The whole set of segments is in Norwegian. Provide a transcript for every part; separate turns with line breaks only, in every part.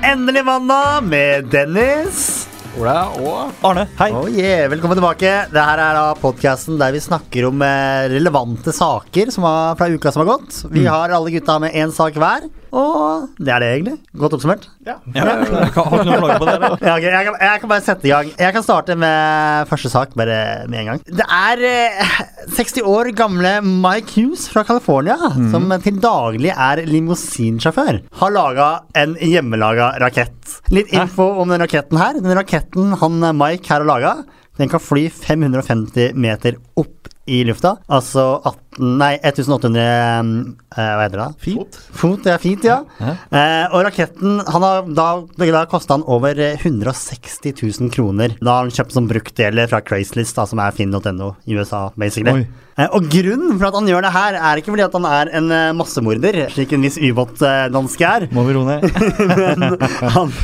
Endelig mandag med Dennis.
Ola og
Arne, hei.
Oh yeah, Velkommen tilbake. Det her er da podkasten der vi snakker om eh, relevante saker som har, fra uka som har gått. Vi har alle gutta med én sak hver, og det er det egentlig. Godt oppsummert.
Ja, har ikke noe å klage på det? eller?
Ja, ok, jeg, kan, jeg kan bare sette i gang. Jeg kan starte med første sak bare med en gang. Det er eh, 60 år gamle Mike Hughes fra California, som til daglig er limousinsjåfør, har laga en hjemmelaga rakett. Litt info om den raketten her. Den raketten han eh, Mike her har laga, den kan fly 550 meter opp i lufta. Altså 18, nei, 1800 eh, Hva heter det? da?
Fint.
Fot, ja, fint, ja. Eh, og raketten han har, Da, da kosta han over eh, 160 000 kroner. Da har han kjøpt som bruktdeler fra Crazelist, da, som er finn.no i USA, basically.
Oi.
Eh, og grunnen for at han gjør det her, er ikke fordi at han er en eh, massemorder, slik en viss ubåtdanske er.
Må vi roe ned?
Men han,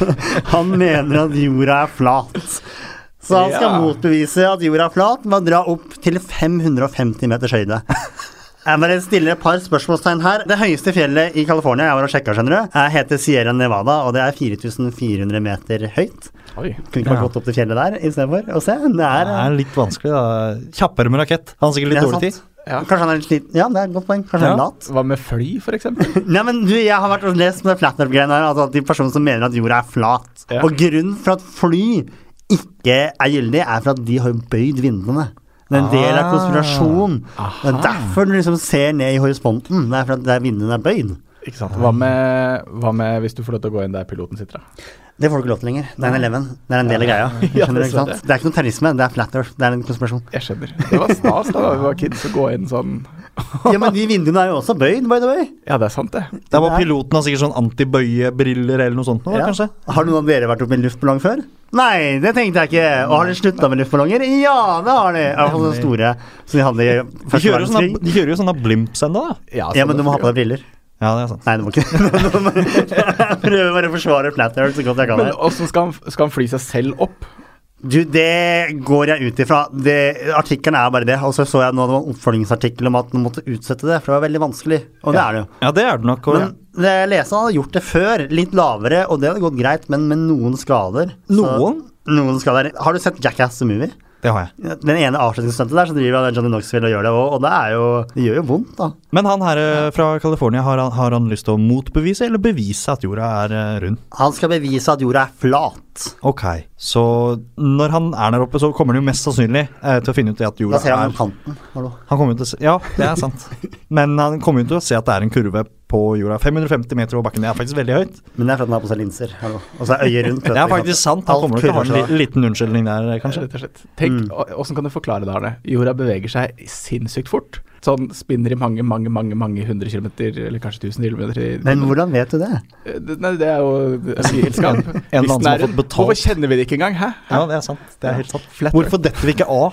han mener at jorda er flat. Så han skal
Ja.
motbevise at jorda er flat ved å dra opp til 550 meters høyde. Jeg bare stiller et par spørsmålstegn her. Det høyeste fjellet i California jeg var og sjekket, skjønner du, eh, heter Sierra Nevada, og det er 4400 meter høyt.
Oi.
Kunne ikke bare
Ja.
gått opp til fjellet der istedenfor og se. Det er,
Det er litt vanskelig, da. Kjappere med rakett. Han har sikkert
det
litt
er
dårlig tid.
sant.
Ja.
Kanskje han er litt sliten. Ja, det er et godt poeng. Kanskje
Ja.
han er lat.
Hva med fly, for eksempel?
Nei, men du, jeg har vært og lest med flat earth-greiene her, altså at de personene som mener at jorda er flat.
Ja.
Og grunnen for at fly ikke er gyldig, er for at de har jo bøyd vinduene. Det er en del av
Ah.
konspirasjon. Det er
Aha.
derfor du liksom ser ned i horisonten. Det er for at der vinduene er bøyd.
Ikke sant. Hva med, hva med hvis du får lov til å gå inn der piloten sitter, da?
Det får du ikke lov til lenger. Det er en 11. Det er en del av greia.
Ja,
Skjønner du, ikke
dessverre.
sant? Det er ikke noe terrorisme, det er flat earth. Det er en konspirasjon.
Jeg skjønner. Det var stas da vi var kids å gå inn sånn.
Ja, men de vinduene er jo også bøyd, by the way.
Ja, det er sant, det.
Det er bare
Nei.
Piloten har sikkert sånn antibøyebriller eller noe sånt. Nå, da,
Ja.
kanskje?
Har noen av dere vært oppe i en luftballong før? Nei, det tenkte jeg ikke. Og har dere slutta med luftballonger? Ja, det har de. I hvert fall den store som de hadde i
De
første
kjører jo sånn sånne,
verdenskrig.
de kjører jo sånne blimps ennå, da.
Ja, men du må ha på deg briller.
Ja, det er sant.
Nei, du må ikke Jeg prøver bare å forsvare Flat Earth så godt jeg kan.
Men
her.
åssen skal, han- skal han fly seg selv opp?
Du, det går jeg ut ifra. Det- Artikkelen er bare det. Og så så jeg nå det var en oppfølgingsartikkel om at man måtte utsette det, for det var veldig vanskelig. Og det er det jo.
Ja, det er det nok. og-
Men det jeg leste, han hadde gjort det før, litt lavere, og det hadde gått greit, men med noen skader. Så-
Noen?
Noen skader. Har du sett Jackass the Movie?
Det har jeg.
Den ene avslutningsstuntet der, så driver Johnny Knoxville og gjør det òg, og det er jo Det gjør jo vondt, da.
Men han her eh, fra California, har han, har han lyst til å motbevise eller bevise at jorda er eh, rund?
Han skal bevise at jorda er flat.
Ok, så når han er der oppe, så kommer han jo mest sannsynlig eh, til å finne ut det at jorda
Da ser han
er
på kanten. Hallo.
Han kommer jo til å se, ja, det er sant. Men han kommer jo til å se at det er en kurve på jorda. 550 meter over bakken, det er faktisk veldig høyt.
Men det er fordi han har på seg linser. Hallo. Og så er øyet rundt. vet
Det
du,
er
ikke
faktisk
sant?
sant. Han
Alt
kommer til å ha en
kurver seg da.
li- liten unnskyldning der, eh, kanskje.
Rett og slett. Tenk, å- Åssen kan du forklare det, Arne? Jorda beveger seg sinnssykt fort. Sånn spinner i mange, mange, mange mange hundre kilometer, eller kanskje tusen kilometer i
Men hvordan vet du det?
Eh, Det- Nei, det er jo vitenskap.
En eller annen som har fått betalt.
Hvorfor kjenner vi det ikke engang? Hæ?
Ja, det er sant. Det er helt sant.
Flat
Hvorfor detter vi ikke av?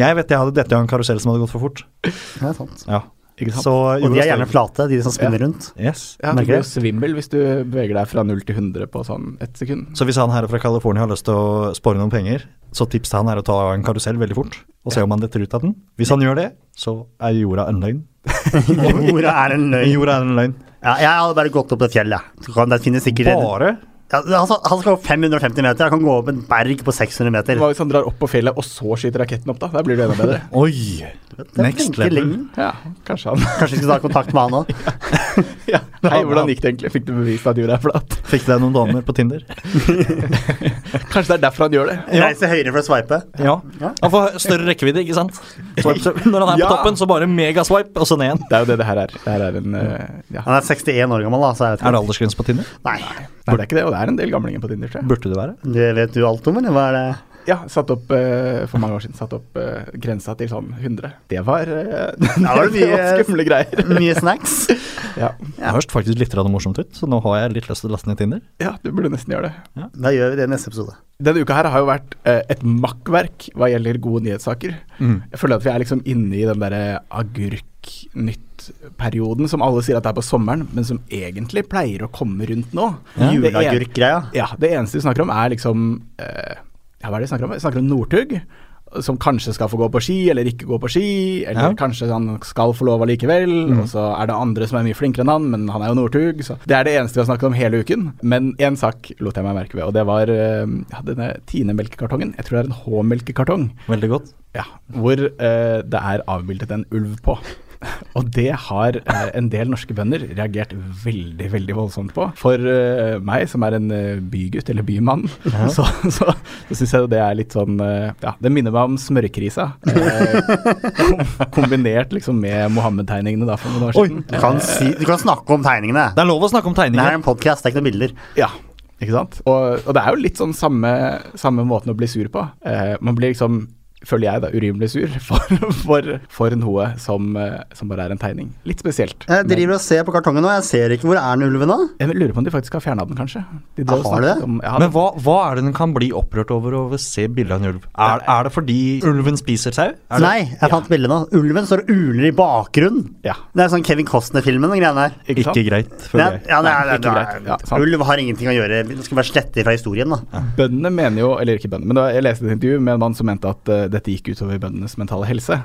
Jeg vet jeg hadde dette av en karusell som hadde gått for fort.
Det er sant.
Ja.
Ikke sant?
Så
Og de er
jorda
gjerne
står-
flate, de som spinner rundt.
Yes.
ja, du
merker
blir jo
det.
svimmel hvis du beveger deg fra 0 til 100 på sånn ett sekund.
Så hvis han her fra California har lyst til å spare noen penger, så tips til han er å ta en karusell veldig fort, og se om han detter ut av den. Hvis han gjør det, så er jorda en løgn.
Jorda er en løgn.
Eh, Jorda er en løgn.
Ja, jeg hadde bare gått opp et fjell, jeg. Så kan- Det finnes sikkert
Bare
ja, han, skal- han skal gå 550 meter, han kan gå opp et berg på 600 meter.
Hva hvis han drar opp på fjellet, og så skyter raketten opp, da? Der blir det enda bedre.
Oi!
Det er
Next
ikke
level.
lenge.
Ja, kanskje han
Kanskje vi skal ta kontakt med han òg.
ja. Nei, hvordan gikk det egentlig? Fikk du bevist at jorda er flat?
Fikk deg noen damer på Tinder?
Kanskje det er derfor han gjør det?
Ja.
Reise høyre for å sveipe.
Ja.
Ja.
Han får større rekkevidde, ikke sant? Swipe, swipe. Når han er på
Ja.
toppen, så bare megaswipe, og så ned igjen.
Det er jo det det her er. Det her er en eh, Ja.
Han er 61 år gammel, da, så jeg vet
Er
ikke.
det aldersgrense på Tinder?
Nei.
Burde jeg ikke det? Og det er en del gamlinger på Tinder, tror jeg.
Burde det være?
Det vet du alt om, eller hva er det?
Ja, satt opp eh, for mange år siden. Satt opp eh, grensa til sånn 100. Det var, eh,
var det
det var
mye-
skumle greier.
Mye snacks.
Ja.
Det høres faktisk litt rad morsomt ut, så nå har jeg litt lyst til å laste ned Tinder.
ja, du burde nesten gjøre det.
Da gjør vi det i neste episode.
Denne uka her har jo vært eh, et makkverk hva gjelder gode nyhetssaker.
Mm.
Jeg føler at vi er liksom inne i den derre agurknytt-perioden som alle sier at det er på sommeren, men som egentlig pleier å komme rundt nå. Det
Ja.
en-
Juleagurkgreia.
Ja, det eneste vi snakker om er liksom eh, Ja, hva er det vi snakker om? Vi snakker om Northug. som kanskje skal få gå på ski, eller ikke gå på ski, eller
Ja.
kanskje han skal få lov allikevel, og så er det andre som er mye flinkere enn han, men han er jo Northug, så det er det eneste vi har snakket om hele uken. Men én sak lot jeg meg merke ved, og det var eh, ja, denne Tine-melkekartongen. Jeg tror det er en H-melkekartong,
Veldig godt.
ja, hvor eh, det er avbildet en ulv på. Og det har eh, en del norske bønder reagert veldig veldig voldsomt på. For eh, meg, som er en eh, bygutt eller bymann, så, så, så syns jeg det er litt sånn eh, Ja, det minner meg om smørkrisa. eh, kom- kombinert liksom med Mohammed-tegningene da for noen år
Oi.
siden.
Du kan, si, du kan snakke om tegningene.
Det er lov å snakke om
Det er
tegninger.
en podkast, det er ikke noen bilder.
Ja, ikke sant? Og, og det er jo litt sånn samme, samme måten å bli sur på. Eh, man blir liksom, føler jeg da, urimelig sur for, for, for noe som, eh, som bare er en tegning. Litt spesielt.
Jeg driver og ser på kartongen nå, jeg ser ikke hvor er den ulven nå.
Men jeg lurer på om de faktisk har fjerna den, kanskje. De drev og
Har
snakket
de det?
Om, ja,
Men hva, hva er det den kan bli opprørt over å se bilde av en ulv? Er, er det fordi ulven spiser sau? Er det-
Nei, jeg fant bildet nå. Ulven står og uler i bakgrunnen.
ja,
Det er sånn Kevin Costner-filmen, den greia der.
ikke sant?
Ikke greit,
Det
føler
er,
jeg.
ja, det er,
Nei,
det
ikke
er, det er,
greit. Ja, sant.
Ulv har ingenting å gjøre. Den skal bare slette fra historien, da.
Bøndene mener jo, eller ikke bøndene, men da, jeg leste et intervju med en mann som mente at eh, dette gikk utover bøndenes mentale helse.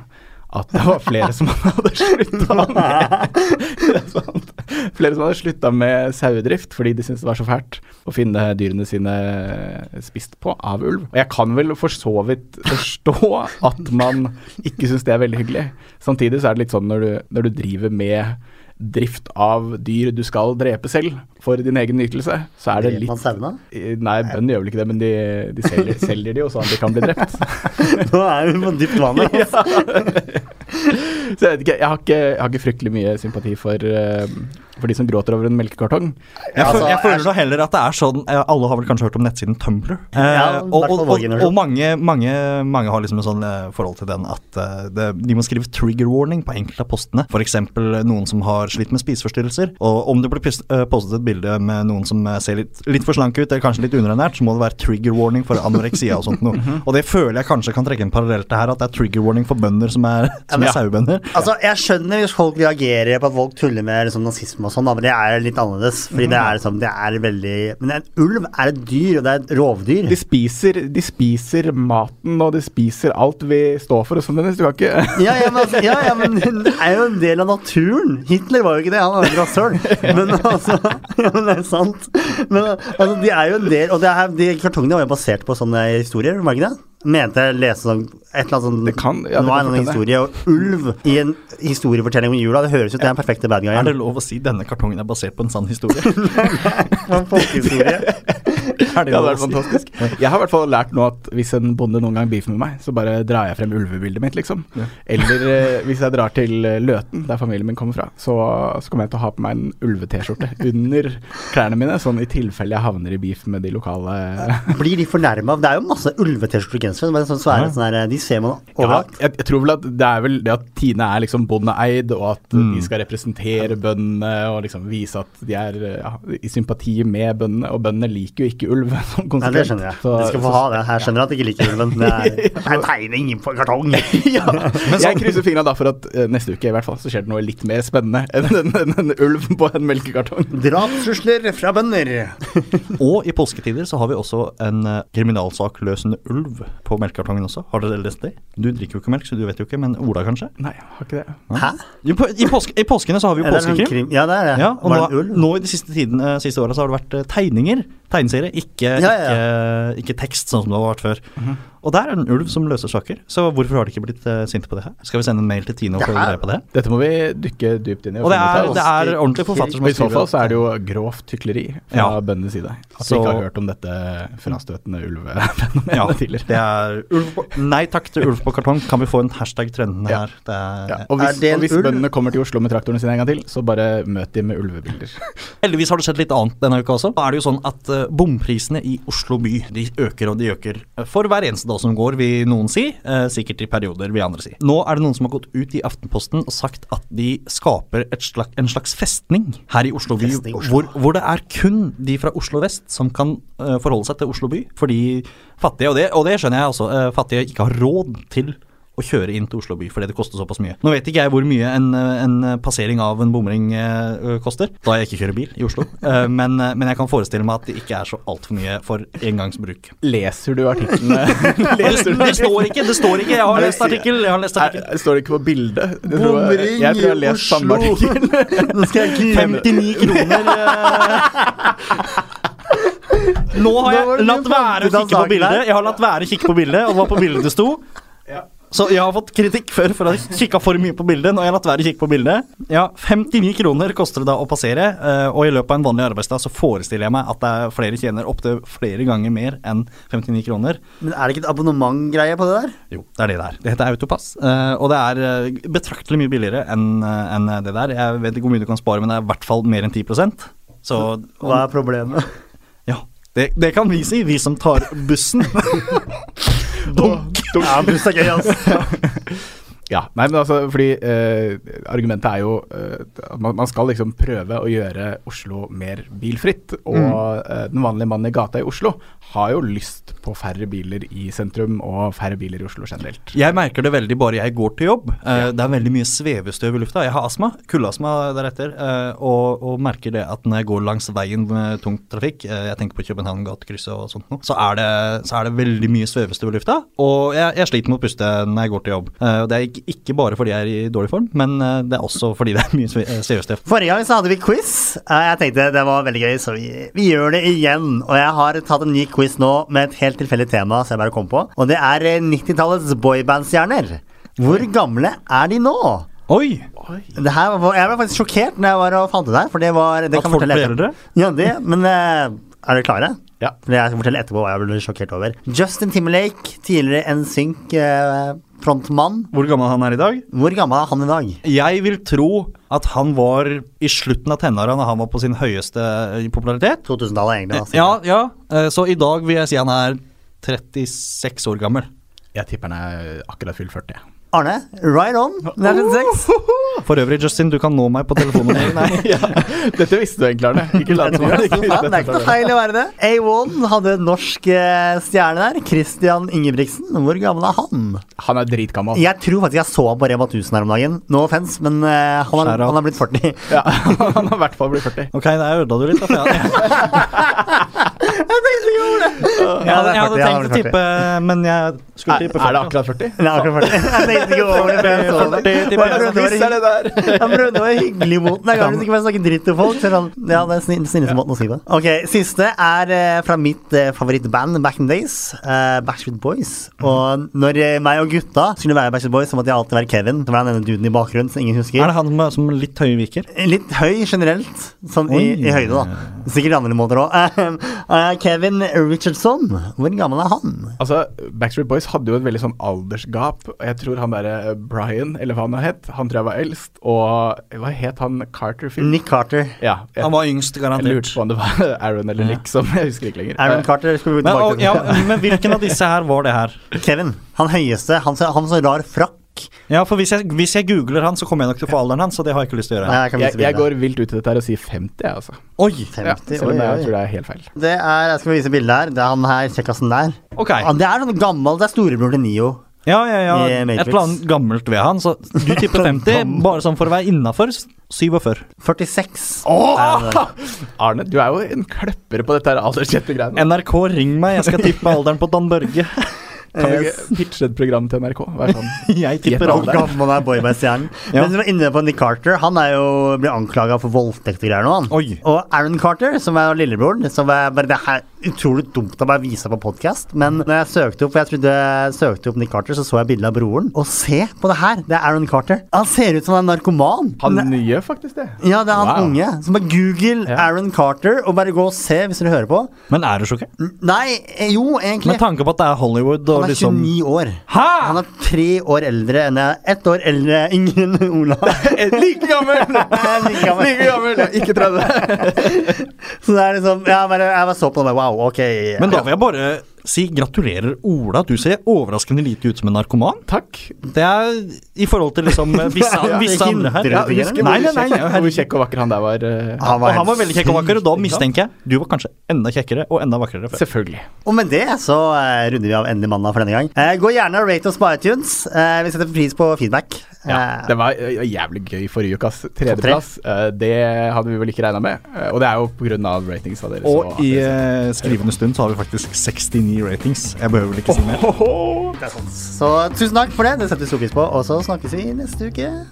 At det var flere som hadde slutta med Det er sant. Flere som hadde slutta med sauedrift fordi de syntes det var så fælt å finne dyrene sine eh, spist på av ulv. Og jeg kan vel for så vidt forstå at man ikke syns det er veldig hyggelig. Samtidig så er det litt sånn når du, når du driver med drift av dyr du skal drepe selv for din egen nytelse, så er det
Dreper man
litt
sauene?
Nei, bøndene gjør vel ikke det, men de, de selger, selger de jo sånn at de kan bli drept.
Nå er vi på dypt vann. altså.
Så jeg, vet ikke, jeg, har ikke, jeg har ikke fryktelig mye sympati for, eh, for de som gråter over en melkekartong.
Jeg,
altså,
føler, jeg
er-
føler da heller at det er sånn eh, Alle har vel kanskje hørt om nettsiden Tumblr? Eh,
Ja, i
og
hvert
og,
fall vår
og,
generasjon.
og mange, mange, mange har liksom en sånn eh, forhold til den at eh, det, de må skrive trigger warning på enkelte av postene. F.eks. noen som har slitt med spiseforstyrrelser. Og om det blir pis- eh, postet et bilde med noen som eh, ser litt, litt for slank ut, eller kanskje litt underernært, så må det være trigger warning for anoreksia og sånt noe.
Mhm.
Og det føler jeg kanskje kan trekke en parallell til her, at det er trigger warning for bønder som er, som
Ja.
er sauebønder.
Altså, Jeg skjønner hvis folk reagerer på at folk tuller med liksom, nazisme og sånn, da, men det er litt annerledes. Fordi det er liksom, det er veldig Men en ulv er et dyr, og det er et rovdyr.
De spiser, de spiser maten, og de spiser alt vi står for. og Sånn, Dennis, du kan ikke
Ja, ja, men, altså, ja, ja, men det er jo en del av naturen. Hitler var jo ikke det, han var jo rasshøl. Men altså ja, men Det er sant. Men altså, de er jo en del Og det er, de kartongene var jo basert på sånne historier, var det ikke det? Mente jeg leste sånn et eller annet sånn
Det kan- ja, det
var en
kan
annen historie,
fortelle.
og ulv i en historiefortelling om jula, det høres ut som den perfekte bad
Er
guyen.
det lov å si denne kartongen er basert på en sann historie?
En folkehistorie.
Er
Det hadde vært fantastisk. Jeg har i hvert fall lært nå at hvis en bonde noen gang beefer med meg, så bare drar jeg frem ulvebildet mitt, liksom. Eller eh, hvis jeg drar til eh, Løten, der familien min kommer fra, så, så kommer jeg til å ha på meg en ulve-T-skjorte under klærne mine, sånn i tilfelle jeg havner i beef med de lokale
Blir de fornærma? Det er jo masse ulve-T-skjorter og sånn svære sånne der, De ser man
ja,
overalt.
jeg, jeg tror vel at det er vel det at Tine er liksom bondeeid, og at de skal representere bøndene og liksom vise at de er eh, ja, i sympati med bøndene. Og bøndene liker jo ikke ulv som
Nei,
konsekvent.
det skjønner jeg.
Så-
De skal få
så-
ha det. Jeg skjønner at de ikke liker ulven. Det er, det er en tegning på en kartong.
jeg krysser fingra da for at eh, neste uke i hvert fall så skjer det noe litt mer spennende enn en, en, en ulv på en melkekartong.
Drapstrusler fra bønder.
Og i påsketider så har vi også en eh, kriminalsakløsende ulv på melkekartongen også. Har dere lest det? Du drikker jo ikke melk, så du vet jo ikke, men Ola kanskje?
Nei, jeg har ikke det.
Hæ?
I, på, i, påske, I påskene så har vi jo
Er det en
påskekrim.
krim? Ja, det er det.
Ja, og
Var det en
nå,
ulv?
nå i de siste, tiden, eh, siste åra så har det vært eh, tegninger. Tegneserie, ikke,
Ja, ja,
ikke, ikke tekst, sånn som det har vært før.
Mhm.
Og der er det en ulv som løser saker. Så hvorfor har de ikke blitt eh, sinte på det her? Skal vi sende en mail til Tine og
Det
få
her-
greie på det?
Dette må vi dykke dypt inn i.
Og det
finne
er,
ut
det
av.
er ordentlig forfatter som
I så fall så er det jo grovt hykleri fra
Ja.
bøndenes side. At vi
Så-
ikke har hørt om dette frastøtende ulvefenomenet
ja,
tidligere.
det er ulv på, Nei takk til ulv på kartong. Kan vi få en hashtag trendene
Ja.
her? Det er,
Ja, og hvis,
Er det en
og hvis
ulv?
bøndene kommer til Oslo med traktorene sine en gang til, så bare møt de med ulvebilder.
Heldigvis har det skjedd litt annet denne uka også. Da er det jo sånn at eh, bomprisene i Oslo by de øker og de øker. eh, For hver eneste dag som går, vil noen si. eh, Sikkert i perioder, vil andre si. Nå er det noen som har gått ut i Aftenposten og sagt at de skaper et slags, en slags festning her i Oslo by,
Festning, Oslo.
hvor, hvor det er kun de fra Oslo vest som kan eh, forholde seg til Oslo by. Fordi fattige, og det, og det skjønner jeg også, eh, fattige ikke har råd til å kjøre inn til Oslo by fordi det koster såpass mye. Nå vet ikke jeg hvor mye en, eh, en passering av en bomring eh, koster, da jeg ikke kjører bil i Oslo, Eh, men, eh, men jeg kan forestille meg at det ikke er så altfor mye for engangsbruk.
Leser du artiklene?
Det, det står ikke, det står ikke! Jeg har lest artikkel. Jeg har lest artikkel.
Er- Står det ikke på bildet? Jeg tror-
Bomring
jeg tror jeg har
i
lest samme
Oslo!
artikkel.
Nå skal jeg ikke
59 kroner eh. Nå har
Nå var
jeg
det
latt
mye fant ut
være å
av
kikke på
saken
bildet.
her.
Jeg har latt være å kikke på bildet, og det var på bildet det sto. Så jeg har fått kritikk før for å ha kikka for mye på bildet. Nå har jeg latt være å kikke på bildet. Ja, 59 kroner koster det da å passere, eh, og i løpet av en vanlig arbeidsdag så forestiller jeg meg at det er flere tjener opptil flere ganger mer enn 59 kroner.
Men er det ikke et abonnementgreie på det der?
Jo, det er det det er. Det heter Autopass. eh, og det er eh, betraktelig mye billigere enn eh, enn det der. Jeg vet ikke hvor mye du kan spare, men det er i hvert fall mer enn 10 Så
Hva er problemet?
ja, det, det kan vi si, vi som tar bussen. Dunk.
Ja, buss er gøy, altså.
Ja, nei, men altså, fordi eh, argumentet er jo eh, at man, man skal liksom prøve å gjøre Oslo mer bilfritt. Og
Mm.
eh, den vanlige mannen i gata i Oslo har jo lyst på færre biler i sentrum, og færre biler i Oslo generelt.
Jeg merker det veldig bare jeg går til jobb. Eh, Det er veldig mye svevestøv i lufta. Jeg har astma, kuldeastma deretter, eh, og, og merker det at når jeg går langs veien med tung trafikk, eh, jeg tenker på København gatekrysset og sånt noe, så, er det- så er det veldig mye svevestøv i lufta. Og jeg, jeg sliter med å puste når jeg går til jobb. Eh, og Det er ikke, ikke bare fordi jeg er i dårlig form, men eh, det er også fordi det er mye sve- eh, svevestøv.
Forrige gang så hadde vi quiz. Eh, Jeg tenkte det var veldig gøy, så vi, vi gjør det igjen. Og jeg har tatt en ny quiz nå med et helt tilfeldig tema, så jeg bare kom på. Og det er eh, 90-tallets boybandstjerner. Hvor gamle er de nå?
Oi!
Det her var, jeg ble faktisk sjokkert når jeg var og fant ut det her. For det var, det
At
kan
folk
fortelle
ble
etter-
eldre?
Ja, det, men eh, er dere klare?
Ja.
For jeg skal fortelle etterpå hva jeg ble sjokkert over. Justin Timberlake, tidligere NSYNC-frontmann.
Hvor gammel han er i dag?
Hvor gammel er han i dag?
Jeg vil tro at han var i slutten av tenåra da han var på sin høyeste eh, popularitet.
2000-tallet, egentlig. da,
Ja, ja. Eh, Så i dag vil jeg si han er 36 år gammel.
Jeg tipper han er akkurat fylt 40.
Arne, right on. Det er 56.
For øvrig, Justin, du kan nå meg på telefonen. Nei.
ja. Dette visste du egentlig, Arne. Ikke lat som.
Det er
ikke-
ikke noe feil å være det. A1 hadde en norsk eh, stjerne der. Christian Ingebrigtsen. Hvor gammel er han?
Han er dritgammal.
Jeg tror faktisk jeg så ham på Rema 1000 her om dagen. No offense, men eh, han,
Skjær
er,
av.
han er blitt 40.
Ja, han har i hvert fall blitt 40.
Ok, der ødela du litt. Da, for jeg, jeg, hadde, jeg
Han er 40,
hadde
han
tenkt
er
å
blitt 40.
tippe, men jeg
Er,
skulle
er
tippe
det
40.
akkurat 40?
Nei, akkurat 40. Jeg tenkte ikke over det. før jeg så det.
40
Hva er det
Hvis er det der?
Han prøvde å være hyggelig mot den. Jeg kan ikke bare snakke dritt til folk. Så er han, ja, det er snill, snilleste måten å si det. Ok, Siste er eh, fra mitt eh, favorittband back in days, eh, Backstreet Boys.
Mhm.
Og når eh, meg og gutta skulle være Backstreet Boys, så måtte jeg alltid være Kevin. Det var den ene duden i bakgrunnen som ingen
Er
husker.
det han med, som litt høye viker?
Litt høy generelt, sånn i,
Oi.
i høyde, da. Sikkert andre måter òg. Kevin Richardson, hvor gammel er han?
Altså, Backstreet Boys hadde jo et veldig sånn aldersgap. og Jeg tror han derre eh, Brian, eller hva han het, han tror jeg var eldst. Og eh, hva het han Carter Finn?
Nick Carter.
Ja, jeg,
Han var yngst,
jeg lurte
garantert.
på om det var Aaron eller Nick som Jeg husker ikke lenger.
Aaron
Eh,
Carter. Skal vi
Men,
tilbake
og,
til
ja, men hvilken av disse her var det her?
Kevin. Han høyeste. Han så, han så rar frakk.
Ja, for Hvis jeg, hvis jeg googler han, så kommer jeg nok til å få alderen hans, og det har jeg ikke lyst til å gjøre.
Nei, jeg Eh, kan vise
jeg, jeg
bildet.
går vilt ut i dette her og sier 50, jeg, altså.
Oi!
Ja,
50,
selv om
oi,
jeg
oi.
tror det er helt feil.
Det er, Jeg skal vise bildet her. Det er han her, kjekkasen der.
Ok.
Han, det er sånn gammel, det er storebror til Nio.
Ja, ja, ja.
I
Et
Matrix.
eller annet gammelt ved han. Så du tipper 50, bare sånn for å være innafor. 47.
46.
Arne, du er jo en kløpper på dette her alderskjente greiene.
NRK, ring meg, jeg skal tippe alderen på Dan Børge.
Kan du ikke pitche et program til NRK? Vær sånn.
Jeg tipper
Gjett
Hvor
alderen.
gammel er boybandstjernen?
Ja.
Men du var inne på Nick Carter. Han er jo blir anklaga for voldtekt og greier nå. han
Oi.
Og Aaron Carter, som er lillebroren som er bare, Det er utrolig dumt å bare vise på podkast, men når jeg søkte opp For jeg trodde jeg søkte opp Nick Carter, så så jeg bilde av broren. Og se på det her! Det er Aaron Carter. Han ser ut som han er narkoman.
Han nye, faktisk, det.
Ja, det er han
Wow.
unge. Så bare google
Ja.
Aaron Carter, og bare gå og se hvis dere hører på.
Men er du sjokkert?
N- Nei, eh, jo, egentlig.
Med tanke på at det er Hollywood og
Han er
liksom
29 år.
Hæ?!
Han er tre år eldre enn jeg. Ett år eldre enn Ingrid Olav.
Eh, Like gammel!
Like gammel.
Like gammel! Ikke 30.
Så det er liksom Jeg bare, jeg bare så på det og bare wow, ok.
Men da vil jeg bare si gratulerer, Ola. Du ser overraskende lite ut som en narkoman.
Takk.
Det er i forhold til liksom visse,
Ja, det
visse andre her.
hindrer
Ja,
ikke det.
husker, nei, nei, nei, ja,
Hvor kjekk og vakker han der var. eh,
Han
Og
var
han var
helt
veldig kjekk og vakker, og da
sykt,
mistenker jeg du var kanskje enda kjekkere og enda vakrere. før.
Selvfølgelig.
Og med det så eh, runder vi av endelig mandag for denne gang. Eh, gå gjerne og rate oss på iTunes. Eh, vi setter pris på feedback. Eh,
Det var eh, jævlig gøy forrige uke, ass. Tredjeplass. eh, Det hadde vi vel ikke regna med. eh, Og det er jo pga. ratingsa deres.
Og i
at
eh, skrivende stund så har vi faktisk 69 ratings. Jeg behøver vel ikke si mer.
det- Ho, ho, ho.
så tusen takk for det. Det setter vi stor pris på. Og så snakkes vi neste uke.